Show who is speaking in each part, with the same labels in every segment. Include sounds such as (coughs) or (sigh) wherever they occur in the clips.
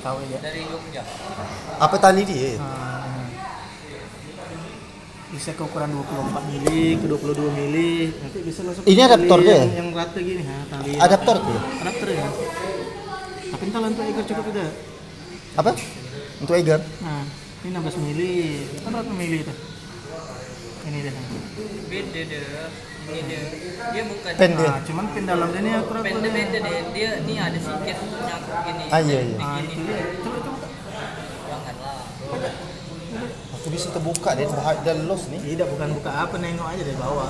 Speaker 1: tahu ya
Speaker 2: dari Jogja
Speaker 3: Apa tani dia?
Speaker 1: Ah. bisa ke ukuran 24 mili ke 22 mili nanti bisa langsung
Speaker 3: Ini adaptornya
Speaker 1: yang,
Speaker 3: ya?
Speaker 1: yang rata gini ha, tali
Speaker 3: Adaptor tuh.
Speaker 1: adaptor ya tapi entah untuk ekor cukup tidak
Speaker 3: Apa? Untuk Egar.
Speaker 1: nah ini 16 mili kan rata mili tuh ini deh
Speaker 2: beda deh beda dia bukan
Speaker 3: Pendek.
Speaker 1: nah cuman pin dalam ini aku Ah, rata
Speaker 2: pendek beda deh dia ini ada sedikit nyangkut gini
Speaker 3: Ah iya iya.
Speaker 1: nah itu dia coba coba
Speaker 2: janganlah
Speaker 3: Aku bisa terbuka dia bahaya dan los nih.
Speaker 1: tidak bukan buka apa nengok aja dari bawah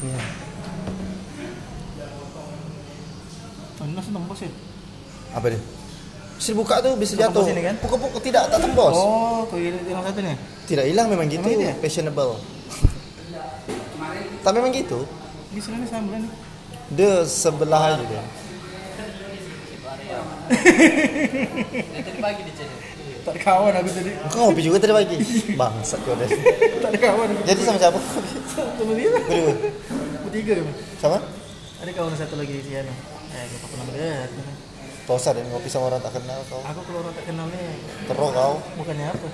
Speaker 3: Iya.
Speaker 1: oh, ini langsung tembus ya
Speaker 3: Apa dia? Bisa buka tuh bisa
Speaker 1: Kau
Speaker 3: jatuh.
Speaker 1: tembus ini kan?
Speaker 3: Pukul-pukul tidak tak tembus.
Speaker 1: oh kau ini yang satu nih
Speaker 3: Tidak hilang memang gitu.
Speaker 1: Memang iya?
Speaker 3: Fashionable. Tapi memang gitu.
Speaker 1: ini sebenarnya sama nih
Speaker 3: Dia sebelah aja dia.
Speaker 2: Dia tadi pagi di channel
Speaker 1: tak ada kawan aku tadi (laughs)
Speaker 3: Kau ngopi juga tadi pagi. Bangsat kau dah.
Speaker 1: tak ada kawan aku.
Speaker 3: Jadi sama siapa?
Speaker 1: Sama dia lah.
Speaker 3: Berdua.
Speaker 1: Bertiga kan?
Speaker 3: Sama?
Speaker 1: Ada kawan satu lagi di sana. Eh, gue pernah melihat.
Speaker 3: Kau usah deh ngopi sama orang tak kenal kau.
Speaker 1: Aku kalau orang tak kenalnya
Speaker 3: Teruk kau.
Speaker 1: bukannya apa?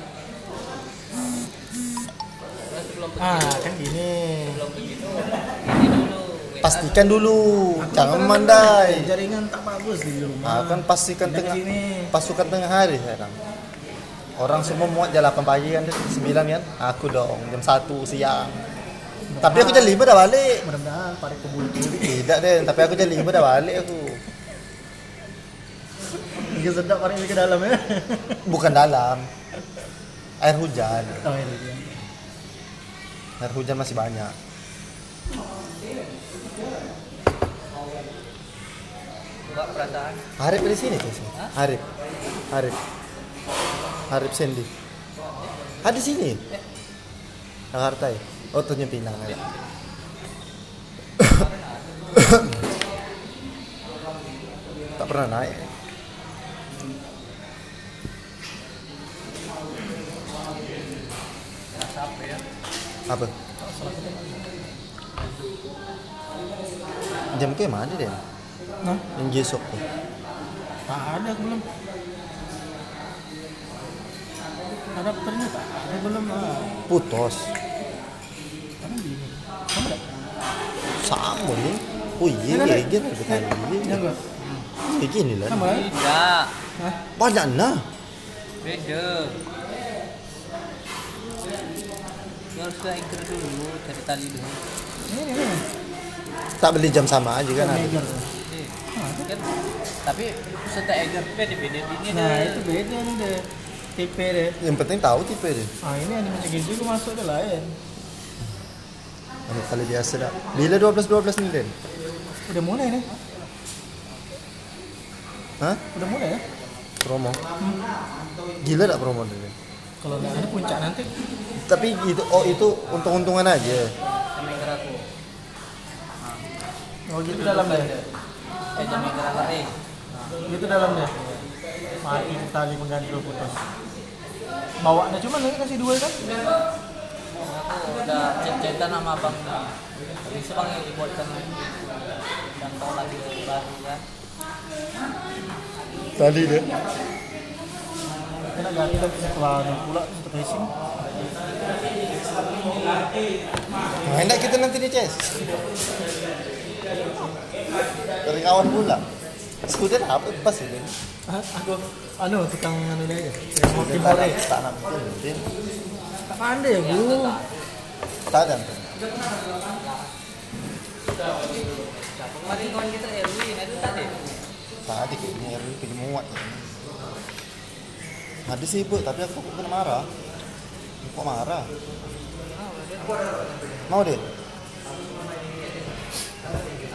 Speaker 2: terus belum
Speaker 1: Ah, kan gini.
Speaker 2: belum begitu ini dulu WA.
Speaker 3: Pastikan dulu.
Speaker 1: Aku
Speaker 3: Jangan
Speaker 1: pernah
Speaker 3: mandai.
Speaker 1: kenal, Jaringan tak bagus di rumah.
Speaker 3: Nah, kan pastikan
Speaker 1: Pindah ke
Speaker 3: tengah
Speaker 1: sini.
Speaker 3: pasukan tengah hari sekarang. Orang semua muat jam 8 pagi kan, 9 kan. Aku dong jam 1 siang. Tapi aku jam 5 dah balik.
Speaker 1: Ah, Mudah-mudahan pada keburu diri.
Speaker 3: Tidak deh, tapi aku jam 5 dah balik aku.
Speaker 1: Lagi sedap paling ke dalam ya.
Speaker 3: Bukan dalam. Air hujan.
Speaker 1: Oh, iya, iya.
Speaker 3: Air hujan masih banyak.
Speaker 2: Coba perasaan
Speaker 3: Harip dari sini tuh. sini. Harip. Harip. Harip Sandy. Ada Ah, sini.
Speaker 2: Ya.
Speaker 3: Jakarta ya. Oh, Tanjung Pinang. Ya. (coughs) tak pernah naik. Apa? Jam ke mana dia?
Speaker 1: Nah,
Speaker 3: Yang gesok tuh.
Speaker 1: tak ada aku belum. Adapternya tak ada belum. Ah,
Speaker 3: Putus.
Speaker 1: kan gini. Kamu tak?
Speaker 3: sama ni. Oh iya,
Speaker 1: Nak, nak,
Speaker 3: iya,
Speaker 1: nak.
Speaker 3: iya, bukan iya.
Speaker 1: Jangan.
Speaker 3: Iya, gini lah.
Speaker 1: Sama. eh?
Speaker 2: tidak
Speaker 1: Hah?
Speaker 3: Banyak lah.
Speaker 2: beda Dia harus ke anchor dulu cari tali dulu
Speaker 1: Ini, ini, ini.
Speaker 3: Tak beli jam sama aja kan. ada.
Speaker 1: Tiger.
Speaker 2: Nih,
Speaker 1: Ah, ada.
Speaker 2: kan tapi setelah anchor beda beda ini
Speaker 1: Nah, itu beda nih deh. Tipe deh.
Speaker 3: Yang penting tahu tipe dia.
Speaker 1: Ah, ini animenya Genji juga masuk deh lain.
Speaker 3: Ada kali biasa dah. Bila 12-12 ni Den?
Speaker 1: Udah mulai nih.
Speaker 3: Ha?
Speaker 1: Udah mulai ya.
Speaker 3: Promo. Gila tak promo dia? Den?
Speaker 1: Kalau nggak ada puncak nanti.
Speaker 3: Tapi itu oh itu untung-untungan aja.
Speaker 2: sama anchor aku
Speaker 1: Oh, gitu dalam deh.
Speaker 2: eh jam anchor aku nih
Speaker 1: Gitu dalam deh. Mati tali pengganti lu putus. Bawaannya cuma nanti kasih dua kan?
Speaker 2: aku udah chat-chatan sama abang nih bisa bang yang dibuatkan lagi dan tahu lagi dari baru kan
Speaker 3: Tadi dia.
Speaker 1: Kita ganti tapi setelah ini pula satu casing.
Speaker 3: Main tak Nah, kita nanti di chess? Dari kawan pula. Skuter apa pas ini?
Speaker 1: Ah, Aku, anu tukang anu ini aja. Mau
Speaker 3: Dia
Speaker 1: timor
Speaker 3: Tak nak- tak nak mungkin.
Speaker 1: Tak pandai bu.
Speaker 3: Tak ada.
Speaker 2: nah kemarin kawan kita Erwin eh, itu tadi
Speaker 3: Tadi kayaknya Erwin pergi muat Ada sibuk tapi aku kok kena marah Kok marah? Mau deh?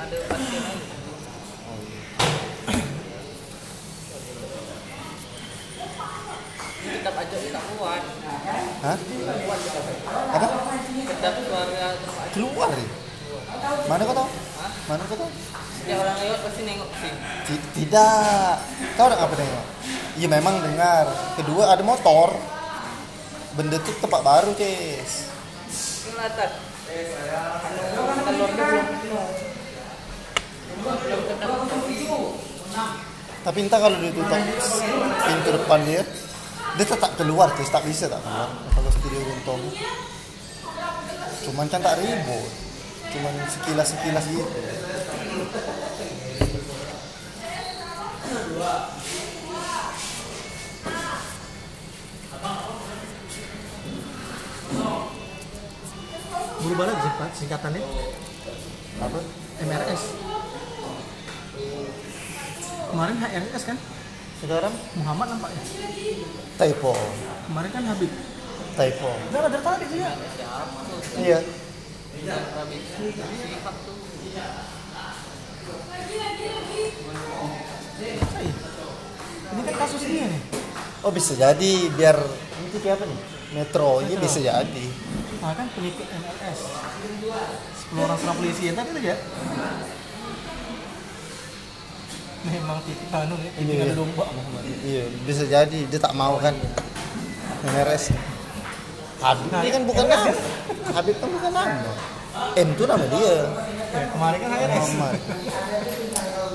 Speaker 2: ada pasien lagi tetap aja kita kuat
Speaker 3: Hah? Apa?
Speaker 2: tetap keluarga
Speaker 3: Keluar deh? Mana kau tahu? Mana kau tahu?
Speaker 2: setiap orang lewat pasti nengok ke sini
Speaker 3: Ti- Tidak Kau dengar apa dengar? Iya memang dengar Kedua ada motor Benda tu tempat baru Cis
Speaker 2: ini latar anu telur dia belum penuh belum kena
Speaker 3: Tapi entah kalau ditutup pintu depan dia, dia tetap keluar terus tak bisa tak keluar. Kalau studio runtong, cuman kan tak ribut, cuman sekilas sekilas gitu.
Speaker 1: Buru bala cepat singkatannya
Speaker 3: Apa?
Speaker 1: MRS. Kemarin HRS kan?
Speaker 3: Sekarang
Speaker 1: Muhammad nampaknya.
Speaker 3: typo,
Speaker 1: Kemarin kan Habib.
Speaker 3: typo.
Speaker 1: Udah ada tadi juga.
Speaker 3: Iya.
Speaker 1: Masa iya? Ini kan kasus dia nih.
Speaker 3: Oh bisa jadi biar nanti kayak apa nih? Metro, ini
Speaker 1: Metro.
Speaker 3: bisa jadi.
Speaker 1: Nah kan pengikut MRS. 10 orang serang polisi yang tadi tuh ya. Memang titik anu ya, titik
Speaker 3: Iya, iya.
Speaker 1: domba sama kemarin.
Speaker 3: Iya, bisa jadi dia tak mau kan. MRS. Habib ini kan bukan nama. Habib kan bukan nama. M itu nama dia.
Speaker 1: Ya, kemarin kan HRS.
Speaker 3: Muhammad.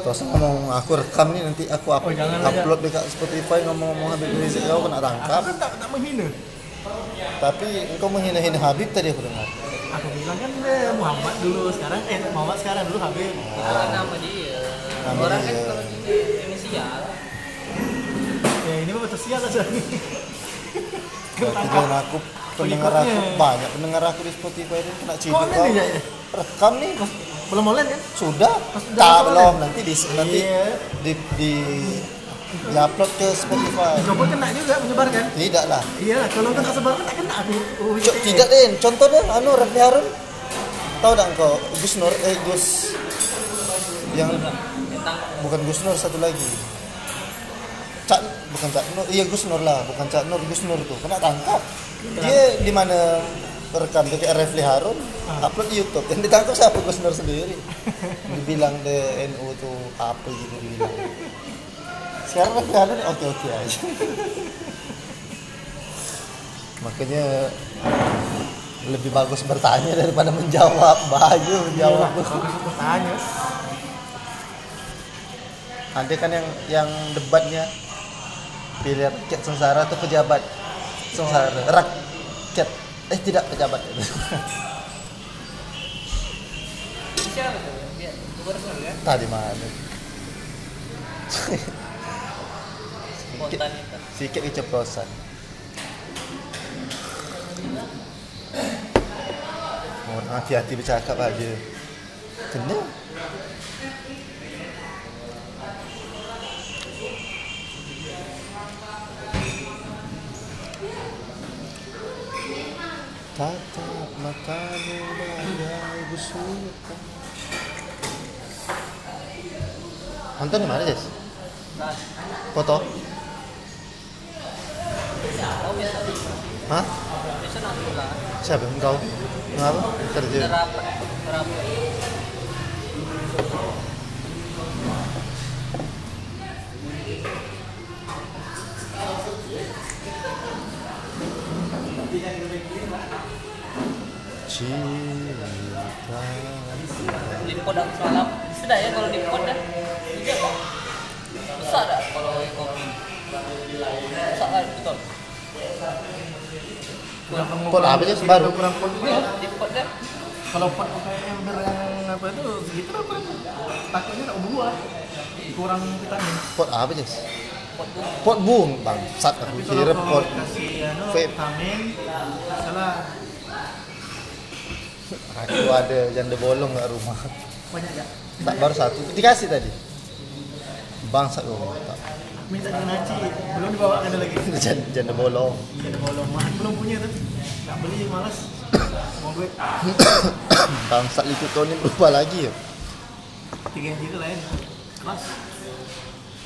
Speaker 3: Terus ngomong aku rekam nih nanti aku up-
Speaker 1: Oh, jangan aja.
Speaker 3: upload di Spotify ngomong-ngomong Habib Rizik kau kena tangkap.
Speaker 1: Aku kan tak, tak menghina.
Speaker 3: Tapi engkau menghina-hina Habib tadi aku dengar.
Speaker 1: Aku bilang kan eh, Muhammad dulu sekarang eh Muhammad sekarang dulu Habib.
Speaker 2: Itu kan nama dia.
Speaker 3: Nama
Speaker 2: Orang kan
Speaker 3: dia.
Speaker 2: kalau dia inisial,
Speaker 1: Ya ini mah betul sial aja.
Speaker 3: Berarti dengan aku pendengar aku
Speaker 1: Pengikutnya.
Speaker 3: banyak pendengar aku di Spotify itu kena ciduk
Speaker 1: Kok ada
Speaker 3: kau.
Speaker 1: dia, ya?
Speaker 3: Rekam nih
Speaker 1: (laughs) Belum online kan?
Speaker 3: sudah
Speaker 1: Pas udah
Speaker 3: tak
Speaker 1: apa
Speaker 3: belum
Speaker 1: kemarin?
Speaker 3: nanti di nanti
Speaker 1: Iya.
Speaker 3: di di di upload ke Spotify
Speaker 1: Coba kena juga menyebarkan.
Speaker 3: tidak lah
Speaker 1: Iya, kalau kena sebar kan tak kena aku. Oh,
Speaker 3: Co- tidak deh contoh deh anu Refli Harun tahu dah engkau Gus Nur eh Gus yang
Speaker 2: tentang
Speaker 3: bukan Gus Nur satu lagi Cak bukan Cak Nur iya Gus Nur lah bukan Cak Nur Gus Nur tuh kena tangkap Ah. dia di mana rekam dia kayak Refli Harun upload di YouTube yang ditangkap siapa Gus Nur sendiri dibilang deh NU tuh apa gitu dibilang sekarang Refli Harun oke oke aja makanya lebih bagus bertanya daripada menjawab Bayu menjawab
Speaker 1: Tanya.
Speaker 3: Ada kan yang yang debatnya pilih rakyat sengsara atau pejabat sengsara rakyat eh tidak pejabat
Speaker 2: inisial itu. Dia gubernur kan,
Speaker 3: tadi mana
Speaker 2: spontanitas.
Speaker 3: sedikit keceplosan mohon hati-hati bercakap aja kena Tatap matamu bagai busukan Nonton di mana, Jess?
Speaker 2: Nah,
Speaker 3: Foto?
Speaker 2: oh biasa,
Speaker 3: Hah?
Speaker 2: biasa nanti lah.
Speaker 3: Siapa engkau? Kenapa? Kerja.
Speaker 2: Terapi, terapi.
Speaker 3: Cinta.
Speaker 2: Limpod aku semalam. Sudah ya kalau limpod dah. Tiga dah. Besar dah kalau kopi. Besar kan betul.
Speaker 3: Pot apa sih baru?
Speaker 1: Kurang pun
Speaker 2: Ya, limpod dah.
Speaker 1: Iya. Kalau pot yang ber yang apa itu segitu lah kurang. Takutnya tak buah. Kurang vitamin.
Speaker 3: Pot apa sih?
Speaker 2: Pot tu.
Speaker 3: Pot bung bang. Sat aku
Speaker 1: Tapi
Speaker 3: kira
Speaker 1: kalau kau
Speaker 3: pot.
Speaker 1: kasih anu
Speaker 3: vape.
Speaker 1: vitamin salah
Speaker 3: Aku ada janda bolong nggak rumah.
Speaker 1: banyak ya.
Speaker 3: Tak baru satu. Dikasih tadi. Bangsat kau. Tak. (laughs)
Speaker 1: Minta dengan Naci, belum dibawa ada lagi.
Speaker 3: Janda, janda bolong. (coughs)
Speaker 1: Ada bolong Mas, belum punya tuh. Enggak beli malas. Mau duit
Speaker 3: Bangsat lutut kau ni berubah lagi ya.
Speaker 1: 3 juta lain. ya. Kelas.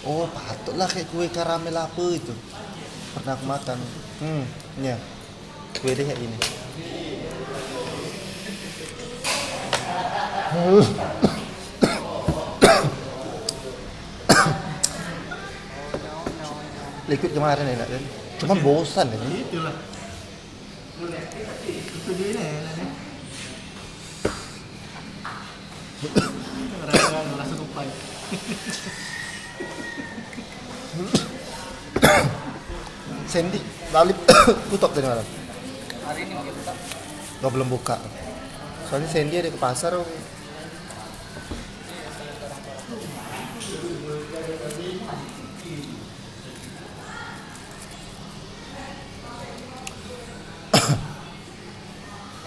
Speaker 3: Oh patutlah kayak kue karamel apa itu. Pernah aku makan. Hmm, ya. Kue dia (coughs) kayak ini. Likut kemarin enak kan? Cuman bosan ya.
Speaker 1: Itulah. Itu dia ya. ini. ini. Ngerasa ngerasa tupai.
Speaker 3: Sandy, Lalip (coughs) tutup tadi malam.
Speaker 2: hari ini mungkin buka
Speaker 3: Gak belum buka. Soalnya Sandy ada ke pasar. oh.
Speaker 2: (coughs)
Speaker 3: Om.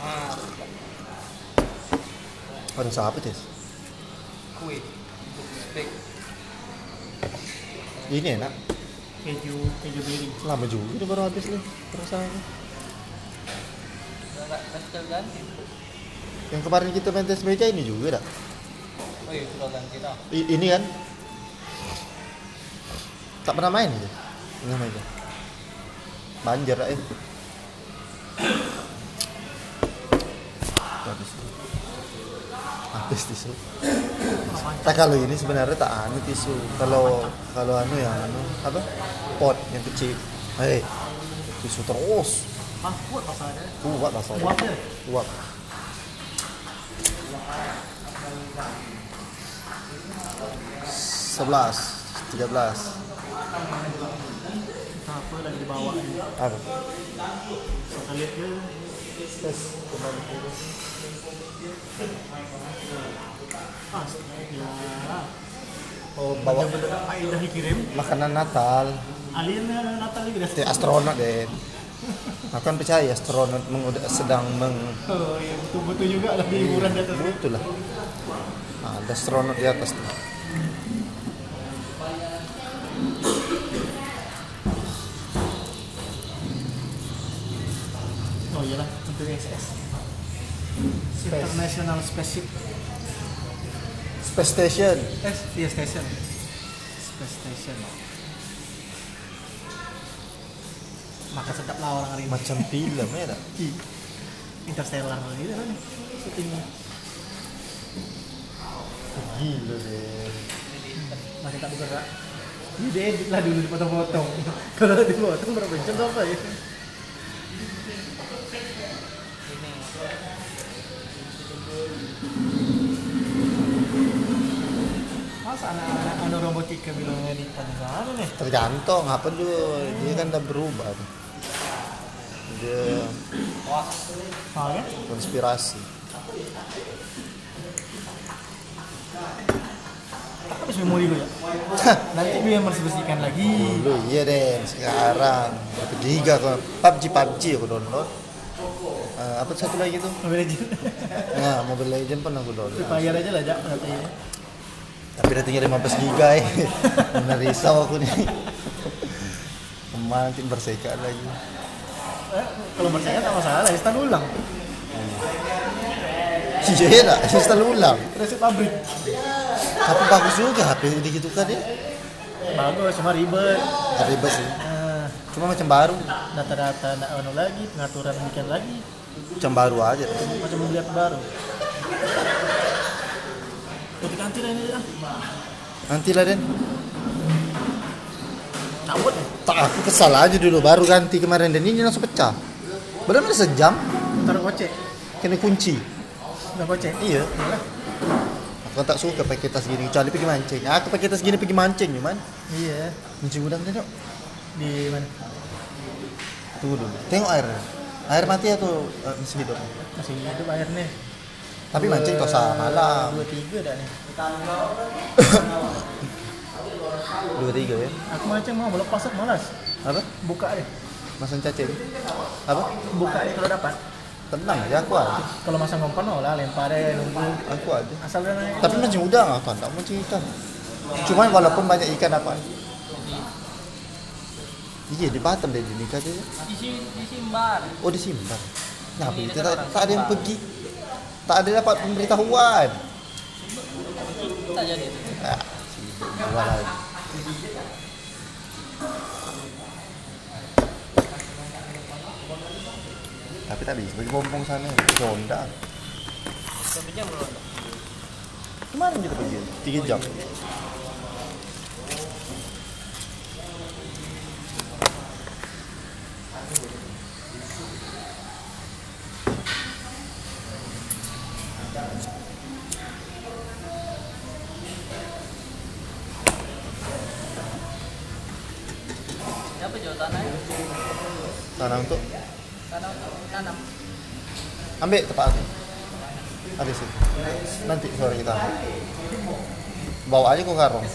Speaker 2: ah
Speaker 3: Orang siapa tes?
Speaker 2: kue steak
Speaker 3: Ini enak.
Speaker 1: keju keju beri
Speaker 3: Lama juga ini baru habis nih perasaannya.
Speaker 2: nggak nggak ganti
Speaker 3: Yang kemarin kita main tes meja ini juga dah.
Speaker 2: oh iya sudah ganti tau
Speaker 3: I- ini kan tak pernah main gitu. Pernah main kan? Banjir aja. Habis. Habis tisu. Tak kalau ini sebenarnya tak anu tisu. Kalau kalau anu yang anu apa? Pot yang kecil. Hei, tisu terus.
Speaker 1: ah kuat masalahnya
Speaker 3: Kuat rasanya.
Speaker 1: kuat ya
Speaker 3: Kuat. Sebelas, tiga belas,
Speaker 1: Entah apa lagi dibawa ni.
Speaker 3: apa?
Speaker 1: satelit ke
Speaker 3: Tes kembali ke
Speaker 1: ah ya
Speaker 3: Oh bawa
Speaker 1: benda apa yang dah dikirim
Speaker 3: makanan Natal,
Speaker 1: alien eh, Natal lagi dah
Speaker 3: Dia astronot deh. Aku kan percaya astronot mengoda- sedang meng
Speaker 1: oh ya betul betul juga lah di hiburan gitu. di atas ni.
Speaker 3: Ya, itulah. Ah, Ada astronot di atas tuh.
Speaker 1: oh iyalah untuk ISS International Space Ship
Speaker 3: Space Station.
Speaker 1: eh iya station Space Station maka sedap lah orang hari ini
Speaker 3: Macam film ya dah.
Speaker 1: Ih, Interstellar gitu kan syutingnya
Speaker 3: Gila deh.
Speaker 1: masih tak bergerak ini diedit lah dulu dipotong-potong (laughs) kalau dipotong berapa jam apa ya
Speaker 2: ini
Speaker 1: masa anak-anak anu robotika bilang ini tanzara nih
Speaker 3: Tergantung apa dulu. Dia kan udah berubah. nih. Dia
Speaker 2: wah
Speaker 1: oh ya
Speaker 3: konspirasi
Speaker 1: tapi harus memori dulu ya nanti gue yang bersih-bersihkan lagi
Speaker 3: dulu iya deh sekarang ketiga kok PUBG PUBG aku download Eh, apa satu lagi tuh
Speaker 1: Mobile (laughs) Legends
Speaker 3: nah Mobile Legend pernah aku download
Speaker 1: bayar aja lah jak nanti ya
Speaker 3: tapi ratingnya 15 giga ya bener risau aku nih kemarin bersekat lagi
Speaker 1: eh, kalau percaya tak masalah instan ulang
Speaker 3: iya lah install ulang
Speaker 1: resep pabrik
Speaker 3: tapi bagus juga HP gitu kan ya
Speaker 1: bagus cuma ribet
Speaker 3: ribet sih
Speaker 1: Nah,
Speaker 3: cuma macam baru
Speaker 1: data-data nak anu lagi pengaturan bikin lagi
Speaker 3: macam baru aja tuh.
Speaker 1: macam membeli apa baru Ganti ganti lah ini ah.
Speaker 3: nanti lah Den
Speaker 1: Cabut ya.
Speaker 3: tak aku kesal lah aja dulu baru ganti kemarin dan ini langsung pecah benar-benar sejam
Speaker 1: Taruh kocek.
Speaker 3: kena kunci
Speaker 1: Udah kocek.
Speaker 3: Iya. Aku kan tak suka pakai tas gini, kecuali pergi mancing. Aku pakai tas gini pergi mancing, cuman
Speaker 1: Iya.
Speaker 3: mancing udang tengok.
Speaker 1: Di mana?
Speaker 3: Tunggu dulu. Tengok air. Air mati atau eh, masih hidup?
Speaker 1: Masih hidup air nih.
Speaker 3: Tapi mancing tosa malam.
Speaker 1: Dua tiga dah nih.
Speaker 3: Dua tiga ya.
Speaker 1: Aku mancing mau melepas aku malas.
Speaker 3: Apa?
Speaker 1: Buka deh.
Speaker 3: Masang cacing. Apa?
Speaker 1: Buka deh kalau dapat.
Speaker 3: Tenang aja aku aja.
Speaker 1: Kalau masa ngompan no lah lempar deh nunggu.
Speaker 3: Aku aja.
Speaker 1: Asal dia naik.
Speaker 3: Tapi mancing udang apa? Tak mancing ikan. Cuman walaupun banyak ikan apa? Iya di Batam deh di nikah aja.
Speaker 2: isi isi bar
Speaker 3: Oh disimpan. Nah,
Speaker 2: Ini
Speaker 3: itu
Speaker 2: kan
Speaker 3: tak,
Speaker 2: orang
Speaker 3: tak ada yang
Speaker 2: simpan.
Speaker 3: pergi. Tak ada dapat pemberitahuan.
Speaker 2: kita jadi
Speaker 3: Ah, sibuk juga lah. Tapi tak bisa pergi bompong sana, ke Honda.
Speaker 2: kopinya belum
Speaker 3: Kemarin kita pergi, 3 jam.
Speaker 2: Siapa jual tanahnya?
Speaker 3: tanah untuk
Speaker 2: ya? Tanah untuk nanam.
Speaker 3: ambil tempat aku habis itu nanti sore kita ambil. bawa aja ke karung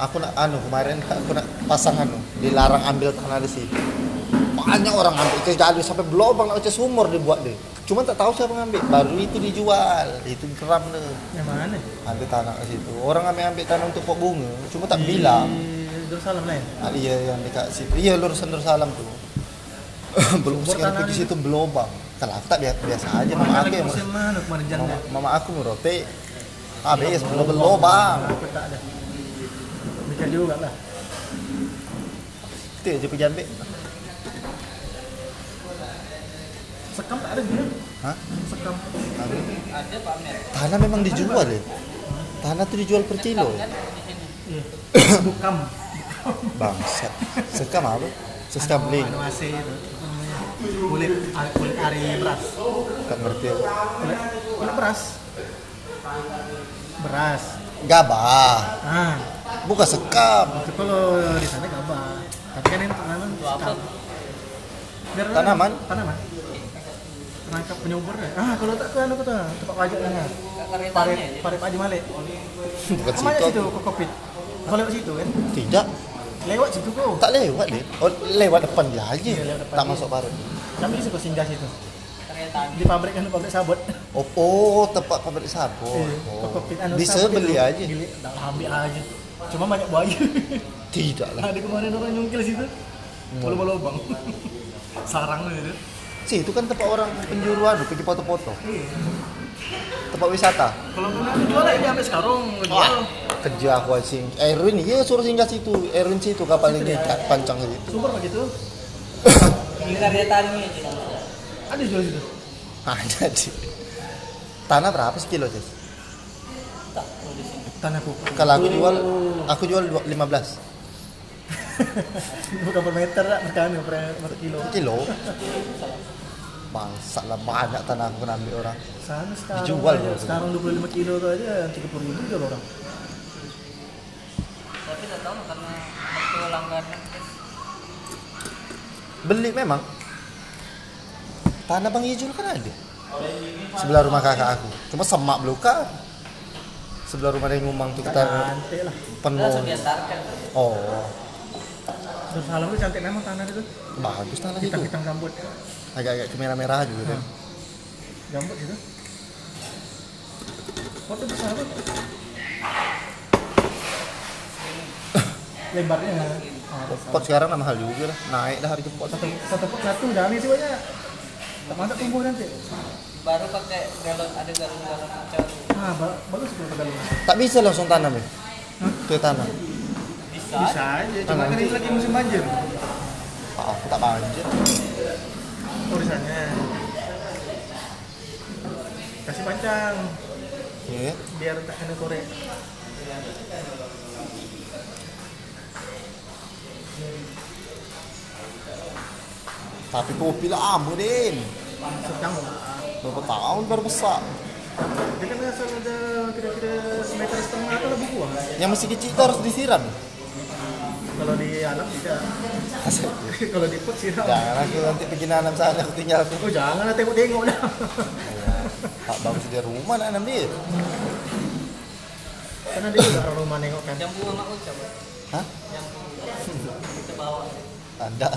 Speaker 3: aku nak anu kemarin aku nak pasang anu dilarang ambil tanah di sini banyak orang ambil itu jadi sampai belobang nak ucap sumur dibuat deh cuman tak tahu siapa ngambil baru itu dijual itu geram deh
Speaker 1: Yang mana?
Speaker 3: ambil tanah ke situ orang ambil ambil tanah untuk pok bunga cuma tak bilang
Speaker 1: Di ya? Darussalam lain.
Speaker 3: Ah, iya yang dekat situ. Iya lurusan Darussalam
Speaker 1: (coughs)
Speaker 3: tuh. belum
Speaker 1: Sumber tanah
Speaker 3: sekarang di
Speaker 1: ini.
Speaker 3: situ belobang. Terlantak biasa, biasa aja mama
Speaker 1: Mana
Speaker 3: aku
Speaker 1: lagi
Speaker 3: yang
Speaker 1: musim mana kemarin
Speaker 3: mama,
Speaker 1: janda?
Speaker 3: mama aku merote. Habis belum belobang.
Speaker 1: Aku tak ada. Bisa juga lah.
Speaker 3: Itu aja pergi ambil.
Speaker 1: Sekam tak ada dia.
Speaker 3: Hah?
Speaker 1: Sekam.
Speaker 3: Habis.
Speaker 2: Ada Pak Amir.
Speaker 3: Tanah memang dijual ya. Tanah tuh dijual per kilo. eh.
Speaker 2: Kan di sini.
Speaker 1: Iya. Bukam.
Speaker 3: Bangsat. Sekam apa? Sekam
Speaker 1: Anu-
Speaker 3: bling.
Speaker 1: anu AC itu. apa namanya? Kulit ar- kulit ari beras.
Speaker 3: Tak ngerti aku.
Speaker 1: Kulit, kulit beras. Beras.
Speaker 3: Gabah.
Speaker 1: Ah,
Speaker 3: Bukan sekam.
Speaker 1: itu kalau di sana gabah. Tapi kan ini tanaman
Speaker 2: Dua apa?
Speaker 1: sekam. Biar
Speaker 3: Tanaman?
Speaker 1: Tanaman. Penangkap penyubur ya. Ah, kalau tak ke anu kata tempat pajak sana.
Speaker 2: Karitannya
Speaker 1: Parit
Speaker 2: aja.
Speaker 1: Parit Haji Malik.
Speaker 3: Bukan
Speaker 1: Kamu ada situ
Speaker 3: situ.
Speaker 1: ke Covid. Kau lewat situ kan?
Speaker 3: Tidak.
Speaker 1: Lewat situ kau.
Speaker 3: Tak lewat deh. Oh, lewat depan dia aja.
Speaker 1: Iya, lewat depan
Speaker 3: Tak
Speaker 1: dia.
Speaker 3: masuk baru.
Speaker 1: Kami di situ singgah situ.
Speaker 2: Karitannya.
Speaker 1: Di pabrik kan pabrik sabut.
Speaker 3: Oh, oh tempat pabrik sabun.
Speaker 1: Iya, ke
Speaker 3: Oh.
Speaker 1: Covid anu
Speaker 3: Bisa
Speaker 1: sabut
Speaker 3: beli
Speaker 1: itu.
Speaker 3: aja.
Speaker 1: Gila, dah lah, ambil aja. Cuma banyak
Speaker 3: (laughs)
Speaker 1: buaya.
Speaker 3: Tidak lah.
Speaker 1: Ada kemarin orang nyungkil situ.
Speaker 3: Hmm.
Speaker 1: Kalau mau lubang. (laughs) Sarang itu.
Speaker 3: Si itu kan tempat orang penjuru anu pergi foto-foto. Tempat wisata.
Speaker 1: Kalau kena jual lah, dia ambil sekarung. Jual.
Speaker 3: Wah, kerja aku asing. Erwin, iya suruh singgah situ. Erwin situ kapal ini tak pancang situ. (laughs)
Speaker 1: Sumber begitu.
Speaker 2: Di Karitannya aja.
Speaker 1: Ada jual situ.
Speaker 3: Ada di Ah, tanah berapa sekilo sih?
Speaker 2: Tak kalau di sini.
Speaker 1: Tanah pupuk. (laughs)
Speaker 3: Kalau aku jual, aku jual dua- 15
Speaker 1: Bukan per meter lah, mereka ambil per, per kilo.
Speaker 3: kilo. Bangsa lah banyak tanah aku kena ambil orang.
Speaker 1: Sana sekarang
Speaker 3: Dijual
Speaker 1: aja,
Speaker 3: dulu.
Speaker 1: sekarang 25 kilo tuh aja 30 ribu jual orang.
Speaker 2: Tapi tak tahu karena waktu langganan
Speaker 3: Beli memang. Tanah Bang Ijul kan ada. Sebelah rumah kakak aku. Cuma semak beluka. Sebelah rumah yang ngumang tuh kita
Speaker 1: Cantik lah.
Speaker 3: penuh.
Speaker 2: langsung diantarkan.
Speaker 3: Oh,
Speaker 1: Darussalam itu cantik memang tanah itu.
Speaker 3: bagus tanah itu.
Speaker 1: Hitam-hitam gambut.
Speaker 3: Agak-agak kemerah-merah juga kan.
Speaker 1: Gambut gitu. Foto besar apa? Lebarnya ya. Ah,
Speaker 3: Pot sekarang nama mahal juga lah. Naik dah harga pot
Speaker 1: Satu,
Speaker 3: satu.
Speaker 1: satu pot satu dah habis itu banyak. Tak masak tumbuh nanti.
Speaker 2: Baru pakai galon ada galon-galon macam
Speaker 1: Ah, ba bagus itu kalau
Speaker 3: Tak bisa langsung tanam ya. Itu tanam.
Speaker 2: bisa.
Speaker 1: Bisa aja, cuma kan ini lagi musim banjir.
Speaker 3: Ah, aku tak banjir.
Speaker 1: Urusannya. Kasih pancang
Speaker 3: Iya.
Speaker 1: biar tak kena korek.
Speaker 3: Tapi kopi lah ambo din.
Speaker 1: Sekang.
Speaker 3: Berapa tahun baru besar.
Speaker 1: Dia kan asal ada kira-kira semeter setengah atau lebih kurang.
Speaker 3: Yang masih kecil itu harus disiram. (laughs)
Speaker 1: Kalau di alam tidak. (laughs)
Speaker 3: Asal.
Speaker 1: kalau di pot siram.
Speaker 3: Jangan aku nanti pergi nanam sana aku tinggal
Speaker 1: Oh
Speaker 3: aku.
Speaker 1: janganlah tengok-tengok dah.
Speaker 3: (laughs) Tak bagus dia rumah nak nanam dia.
Speaker 1: Karena dia juga orang rumah nengok kan.
Speaker 2: Jambu sama ucap.
Speaker 3: Hah?
Speaker 2: Jambu. Kita bawa.
Speaker 3: Tanda.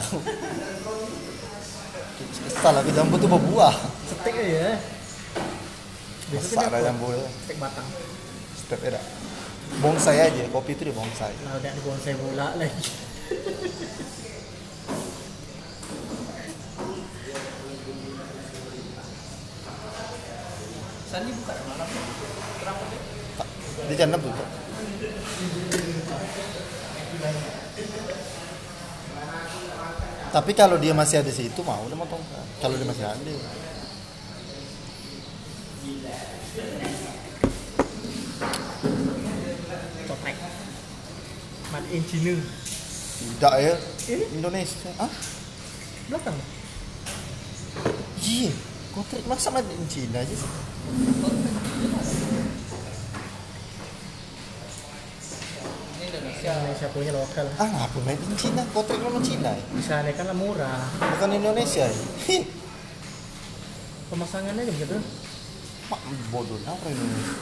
Speaker 3: Kesal aku jambu tu berbuah.
Speaker 1: Setik aja ya. Biasa
Speaker 3: Besar dah
Speaker 1: kan
Speaker 3: jambu lah dia.
Speaker 1: setik batang.
Speaker 3: Step dia dah. Bonsai aja, kopi tu dia bonsai.
Speaker 1: Nah, udah di bonsai bola lagi.
Speaker 2: Sandi bukan malam. Kenapa dia?
Speaker 3: Tak. Dia jangan tu. tak? Tapi kalau dia masih ada situ mau dia motong. Kalau dia masih ada.
Speaker 1: Coprek. Matiin Cina.
Speaker 3: Tidak ya.
Speaker 1: Ini
Speaker 3: Indonesia. Ah,
Speaker 1: belakang.
Speaker 3: iya. Kontrak masa made in Cina aja sih.
Speaker 2: Ini Indonesia. Indonesia
Speaker 1: Indonesia punya lokal
Speaker 3: ah ngapain main di Cina kontrak lu sama Cina ya?
Speaker 1: di sana kan lah murah
Speaker 3: bukan Indonesia ya Hih,
Speaker 1: pemasangannya juga gitu
Speaker 3: mak bodoh apa Indonesia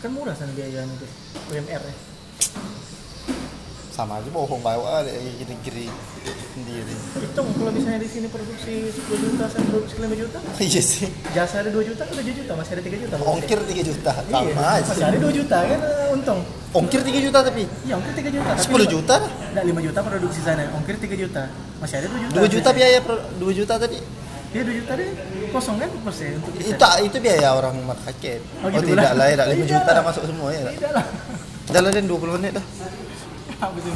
Speaker 1: kan murah sana biayanya tuh UMR nya
Speaker 3: sama aja bohong bawa ada kiri-kiri sendiri (laughs)
Speaker 1: hitung kalau misalnya di sini produksi 10 juta sampai produksi 5 juta
Speaker 3: iya sih
Speaker 1: jasa ada 2 juta kan 7 juta masih ada 3 juta pokoknya.
Speaker 3: ongkir 3 juta
Speaker 1: iya,
Speaker 3: sama
Speaker 1: masih
Speaker 3: aja
Speaker 1: ada 2 juta kan eh, untung
Speaker 3: ongkir 3 juta tapi
Speaker 1: iya ongkir 3 juta
Speaker 3: 10 juta lah.
Speaker 1: enggak 5 juta produksi sana ongkir 3 juta masih ada 2 juta
Speaker 3: 2 juta biaya pro- 2 juta tadi
Speaker 1: iya 2 juta deh kosong kan persen untuk kita
Speaker 3: itu itu biaya orang market
Speaker 1: Oh,
Speaker 3: oh,
Speaker 1: gitu
Speaker 3: tidak
Speaker 1: lah.
Speaker 3: lah ya 5
Speaker 1: Tidak
Speaker 3: juta
Speaker 1: lah. (laughs)
Speaker 3: dah masuk semua ya
Speaker 1: tidak lah
Speaker 3: jalanin 20 menit dah
Speaker 1: Habis ini.